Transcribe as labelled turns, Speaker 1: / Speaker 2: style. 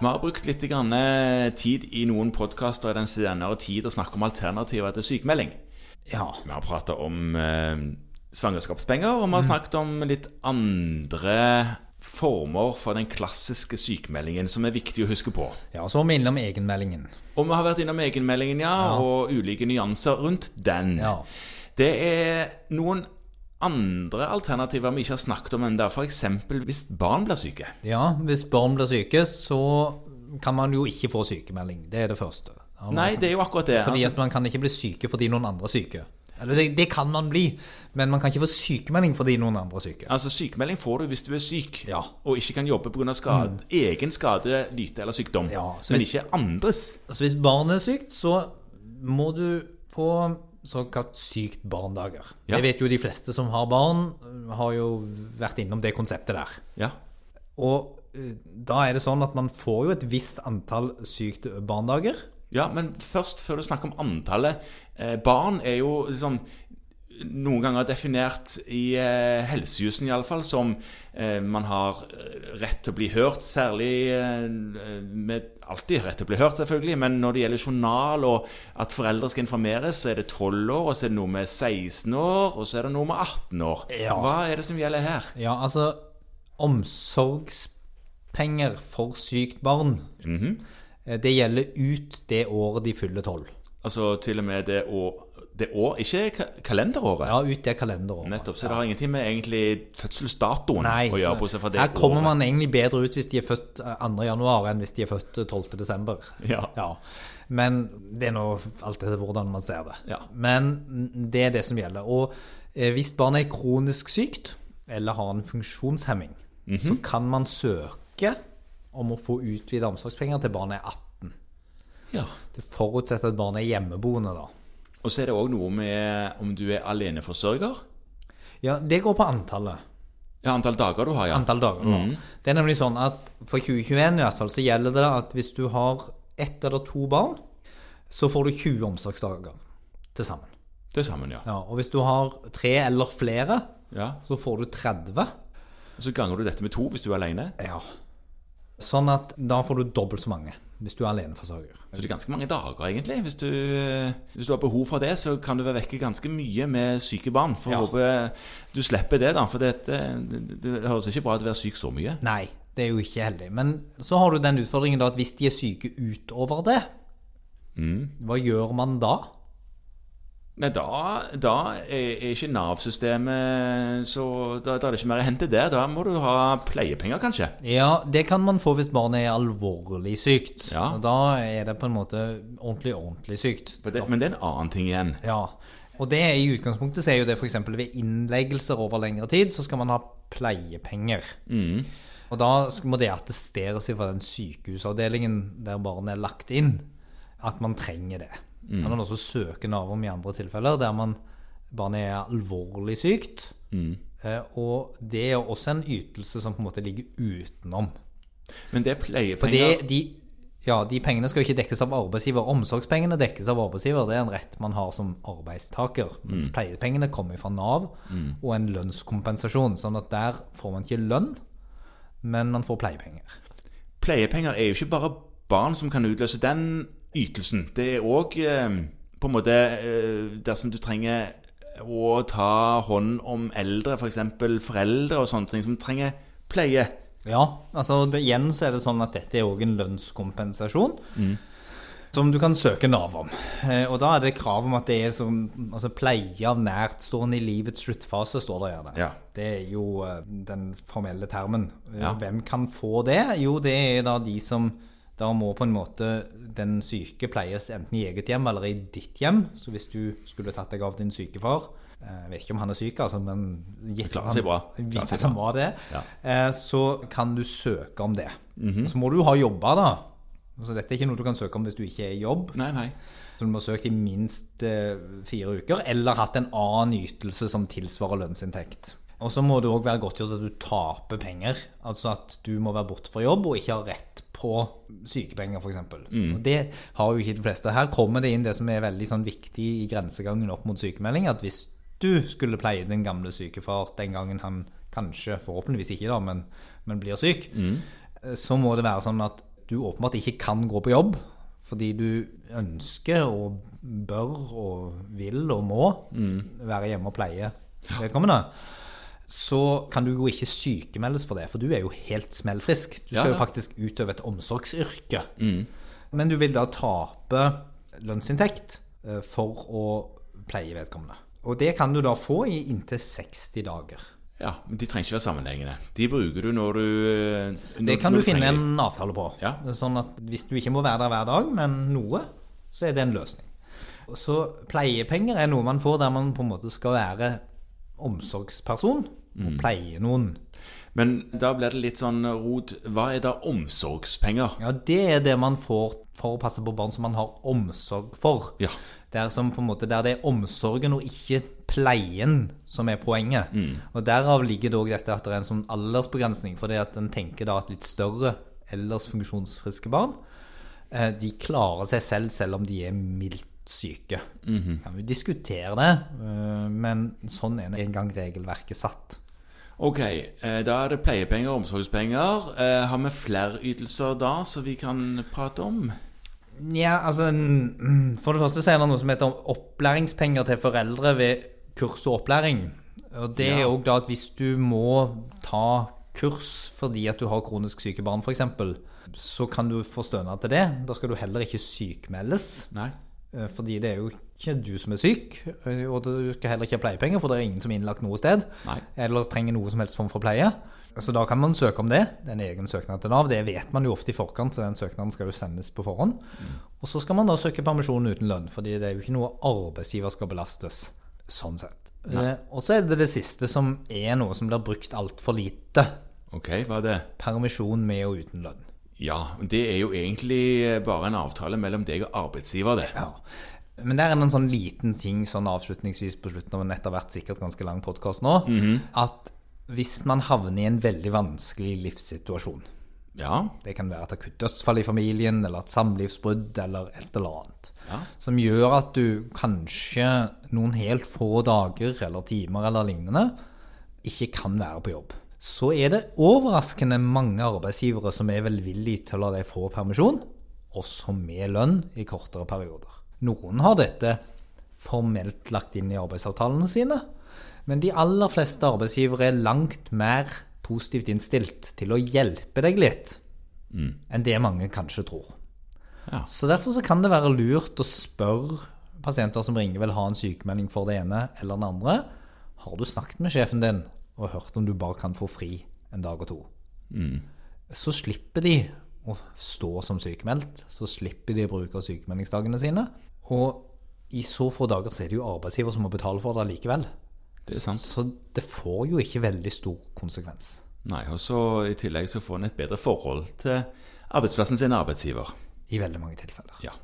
Speaker 1: Vi har brukt litt grann eh, tid i noen podkaster i den senere tid å snakke om alternativer til sykemelding.
Speaker 2: Ja.
Speaker 1: Vi har prata om eh, svangerskapspenger, og
Speaker 2: Mm.
Speaker 1: vi har snakket om litt andre former for den klassiske sykemeldingen som er viktig å huske på.
Speaker 2: ja så må vi innom egenmeldingen.
Speaker 1: Og vi har vært innom egenmeldingen, ja, og ulike nyanser rundt den.
Speaker 2: Ja.
Speaker 1: Det er noen andre alternativer vi ikke har snakket om ennå, f.eks. hvis barn blir syke.
Speaker 2: Ja, hvis barn blir syke, så kan man jo ikke få sykemelding. Det er det første. Ja,
Speaker 1: Nei, det er jo akkurat det.
Speaker 2: Fordi
Speaker 1: Altså,
Speaker 2: at man kan ikke bli syke fordi noen andre er syke. Eller det, det kan man bli, men man kan ikke få sykemelding fordi noen andre er syke.
Speaker 1: altså, sykemelding får du hvis du er syk
Speaker 2: Ja. Mm.
Speaker 1: og ikke kan jobbe pga. Skade, egen skade, lyte eller sykdom.
Speaker 2: Ja, så
Speaker 1: men
Speaker 2: hvis-
Speaker 1: ikke andres.
Speaker 2: Så hvis barnet er sykt, så må du få såkalt sykt barndager.
Speaker 1: Ja.
Speaker 2: Jeg vet jo de fleste som har barn, har jo vært innom det konseptet der.
Speaker 1: Ja.
Speaker 2: Og eh, da er det sånn at man får jo et visst antall sykt barndager.
Speaker 1: ja, men først, før du snakker om antallet eh, Barn er jo liksom noen ganger definert i eh, helsejussen iallfall som eh, man har eh, rett til å bli hørt, særlig eh, med Alltid rett til å bli hørt, selvfølgelig, men når det gjelder journal og at foreldre skal informeres, så er det 12 år, og så er det noe med 16 år, og så er det noe med 18 år.
Speaker 2: Ja.
Speaker 1: Hva er det som gjelder her?
Speaker 2: Ja, altså Omsorgspenger for sykt barn. Eh, Det gjelder ut det året de fyller tolv.
Speaker 1: Altså til og med det år, det år ikke ka- kalenderåret.
Speaker 2: Ja, ut det kalenderåret.
Speaker 1: Nettopp, så det har ingenting med egentlig fødselsdatoen
Speaker 2: Nei,
Speaker 1: å gjøre på
Speaker 2: så
Speaker 1: seg fra det
Speaker 2: her kommer
Speaker 1: året.
Speaker 2: man egentlig bedre ut hvis de er født eh, 2. januar enn hvis de er født eh, 12. desember.
Speaker 1: Ja.
Speaker 2: Men det er nå alt etter hvordan man ser det.
Speaker 1: Ja.
Speaker 2: Men mm, det er det som gjelder. Og eh, hvis barnet er kronisk sykt eller har en funksjonshemming, så
Speaker 1: Mhm.
Speaker 2: kan man søke om å få utvida omsorgspenger til barnet er 18.
Speaker 1: Ja.
Speaker 2: Det forutsetter at barnet er hjemmeboende, da.
Speaker 1: Og så er det òg noe med om du er aleneforsørger.
Speaker 2: Ja, det går på antallet.
Speaker 1: Ja, antall dager du har, ja.
Speaker 2: antall dager. nå. Det er nemlig sånn at for 2021 i hvert fall så gjelder det at hvis du har ett eller to barn, så får du 20 omsorgsdager til sammen.
Speaker 1: Det er sammen, ja.
Speaker 2: Ja, og hvis du har tre eller flere,
Speaker 1: ja.
Speaker 2: så får du 30.
Speaker 1: Så ganger du dette med to hvis du er alene.
Speaker 2: Ja. Sånn at da får du dobbelt så mange hvis du er aleneforsørger.
Speaker 1: Så det er ganske mange dager, egentlig. Hvis du, eh, hvis du har behov for det, så kan du være vekke ganske mye med syke barn. For
Speaker 2: Ja.
Speaker 1: å håpe du slipper det, da. For dette, det, det høres ikke bra ut å være syk så mye.
Speaker 2: Nei, det er jo ikke heldig. Men så har du den utfordringen da at hvis de er syke utover det, hva gjør man da?
Speaker 1: Nei, da, da er er ikke Nav-systemet Så da, da er det ikke mer å hente der. Da må du ha pleiepenger, kanskje.
Speaker 2: Ja, det kan man få hvis barnet er alvorlig sykt.
Speaker 1: Ja.
Speaker 2: Og da er det på en måte ordentlig, ordentlig sykt.
Speaker 1: For det, men det er en annen ting igjen.
Speaker 2: Ja. Og det er i utgangspunktet så er jo det f.eks. ved innleggelser over lengre tid, så skal man ha pleiepenger. Og da sk- må det attesteres fra den sykehusavdelingen der barnet er lagt inn, at man trenger det. Kan man også søke Nav om i andre tilfeller der man, barnet er alvorlig sykt. Eh, Og det er jo også en ytelse som på en måte ligger utenom.
Speaker 1: Men det er pleiepenger
Speaker 2: For det, de, ja, de pengene skal jo ikke dekkes av arbeidsgiver. Omsorgspengene dekkes av arbeidsgiver, det er en rett man har som arbeidstaker. Mens pleiepengene kommer fra Nav og en lønnskompensasjon. Sånn at der får man ikke lønn, men man får pleiepenger.
Speaker 1: pleiepenger er jo ikke bare barn som kan utløse den ytelsen. Det er òg eh, på en måte eh, dersom du trenger å ta hånd om eldre, f.eks. foreldre og sånne ting som trenger pleie.
Speaker 2: Ja, altså det, igjen så er det sånn at dette er òg en lønnskompensasjon.
Speaker 1: Mm.
Speaker 2: Som du kan søke Nav om. Eh, Og da er det krav om at det er som altså, pleie av nærtstående i livets sluttfase, står det gjerne.
Speaker 1: Ja.
Speaker 2: Det er jo eh, den formelle termen. Eh,
Speaker 1: Ja.
Speaker 2: Hvem kan få det? Jo, det er da de som da må på en måte den syke pleies enten i eget hjem eller i ditt hjem. Så hvis du skulle tatt deg av din syke far eh, Jeg vet ikke om han er syk, altså, men gitt
Speaker 1: Klarer
Speaker 2: at
Speaker 1: seg
Speaker 2: han-
Speaker 1: bra.
Speaker 2: gitt
Speaker 1: Klarer seg
Speaker 2: at han var det,
Speaker 1: Ja. Mhm.
Speaker 2: eh, så kan du søke om det. Så må du ha jobba, da. Så dette er ikke noe du kan søke om hvis du ikke er i jobb.
Speaker 1: Nei, nei.
Speaker 2: Så du må ha søkt i minst eh, fire uker, eller hatt en annen ytelse som tilsvarer lønnsinntekt. Og så må det òg være godtgjort at du taper penger. Altså at du må være borte fra jobb og ikke ha rett på sykepenger, f.eks. Mm. Og det har jo ikke de fleste. Og Her kommer det inn det som er veldig sånn viktig i grensegangen opp mot sykemelding, at hvis du skulle pleie din gamle syke far den gangen han kanskje, forhåpentligvis ikke da, men, men blir syk, eh, så må det være sånn at du åpenbart ikke kan gå på jobb fordi du ønsker og bør og vil og må
Speaker 1: Mm.
Speaker 2: være hjemme og pleie vedkommende, så kan du jo ikke sykemeldes for det, for du er jo helt smellfrisk. Du
Speaker 1: Ja, Mm.
Speaker 2: skal jo
Speaker 1: ja.
Speaker 2: faktisk utøve et omsorgsyrke. Men du vil da tape lønnsinntekt eh, for å pleie vedkommende. Og det kan du da få i inntil 60 dager.
Speaker 1: Ja, men De trenger ikke være sammenhengende. De bruker du når du eh, når,
Speaker 2: Det kan
Speaker 1: når
Speaker 2: du finne
Speaker 1: trenger-
Speaker 2: en avtale på.
Speaker 1: Ja.
Speaker 2: Sånn at hvis du ikke må være der hver dag, men noe, så er det en løsning. Og Så pleiepenger er noe man får der man på en måte skal være omsorgsperson
Speaker 1: Mm.
Speaker 2: og pleie noen.
Speaker 1: Men da blir det litt sånn rot. Hva er da omsorgspenger?
Speaker 2: Ja, det er det man får for å passe på barn som man har omsorg for.
Speaker 1: Ja.
Speaker 2: Det er som på en måte der det er omsorgen og ikke pleien som er poenget. Og derav ligger det også dette at det er en sånn aldersbegrensning, fordi at en tenker da at litt større, ellers funksjonsfriske barn, eh, de klarer seg selv selv om de er mildt syke. Kan vi diskutere det, eh, men sånn er en gang regelverket satt.
Speaker 1: Ok, eh, da er det pleiepenger og omsorgspenger. Eh, Har vi flere ytelser da som vi kan prate om?
Speaker 2: Nja, altså mm, For det første så er det noe som heter opplæringspenger til foreldre ved kurs og opplæring. Og det er
Speaker 1: Ja.
Speaker 2: òg da at hvis du må ta kurs fordi at du har kronisk syke barn, f.eks., så kan du få stønad til det. Da skal du heller ikke sykmeldes.
Speaker 1: Nei.
Speaker 2: eh, Fordi det er jo ikke du som er syk, eh, og du skal heller ikke ha pleiepenger, for det er ingen som er innlagt noe sted.
Speaker 1: Nei.
Speaker 2: Eller trenger noe som helst form for pleie. Så da kan man søke om det. Det er en egen søknad til Nav. Det vet man jo ofte i forkant, så den søknaden skal jo sendes på forhånd. Og så skal man da søke permisjon uten lønn, fordi det er jo ikke noe arbeidsgiver skal belastes. Sånn sett. Eh, og så er det det siste som er noe som blir brukt altfor lite.
Speaker 1: Ok, hva er det?
Speaker 2: Permisjon med og uten lønn.
Speaker 1: Ja, det er jo egentlig eh, bare en avtale mellom deg og arbeidsgiver, det.
Speaker 2: Ja. Men der er det en sånn liten ting sånn avslutningsvis på slutten av en etter hvert sikkert ganske lang podkast nå, at hvis man havner i en veldig vanskelig livssituasjon
Speaker 1: Ja.
Speaker 2: Det kan være et akutt dødsfall i familien, eller et samlivsbrudd, eller et eller annet.
Speaker 1: Ja.
Speaker 2: Som gjør at du kanskje noen helt få dager eller timer eller lignende ikke kan være på jobb. Så er det overraskende mange arbeidsgivere som er velvillige til å la deg få permisjon, også med lønn i kortere perioder. Noen har dette formelt lagt inn i arbeidsavtalene sine, men de aller fleste arbeidsgivere er langt mer positivt innstilt til å hjelpe deg litt enn det mange kanskje tror.
Speaker 1: Ja.
Speaker 2: Så derfor så kan det være lurt å spørre pasienter som ringer vil ha en sykemelding for det ene eller den andre. Har du snakket med sjefen din og hørt om du bare kan få fri en dag og to?
Speaker 1: Mm.
Speaker 2: Så slipper de å stå som sykemeldt, så slipper de å bruke sykemeldingsdagene sine. Og i så få dager så er det jo arbeidsgiver som må betale for det likevel.
Speaker 1: Det er sant.
Speaker 2: Så det får jo ikke veldig stor konsekvens.
Speaker 1: Nei, og så i tillegg så får en et bedre forhold til arbeidsplassen sin arbeidsgiver.
Speaker 2: I veldig mange tilfeller.
Speaker 1: Ja.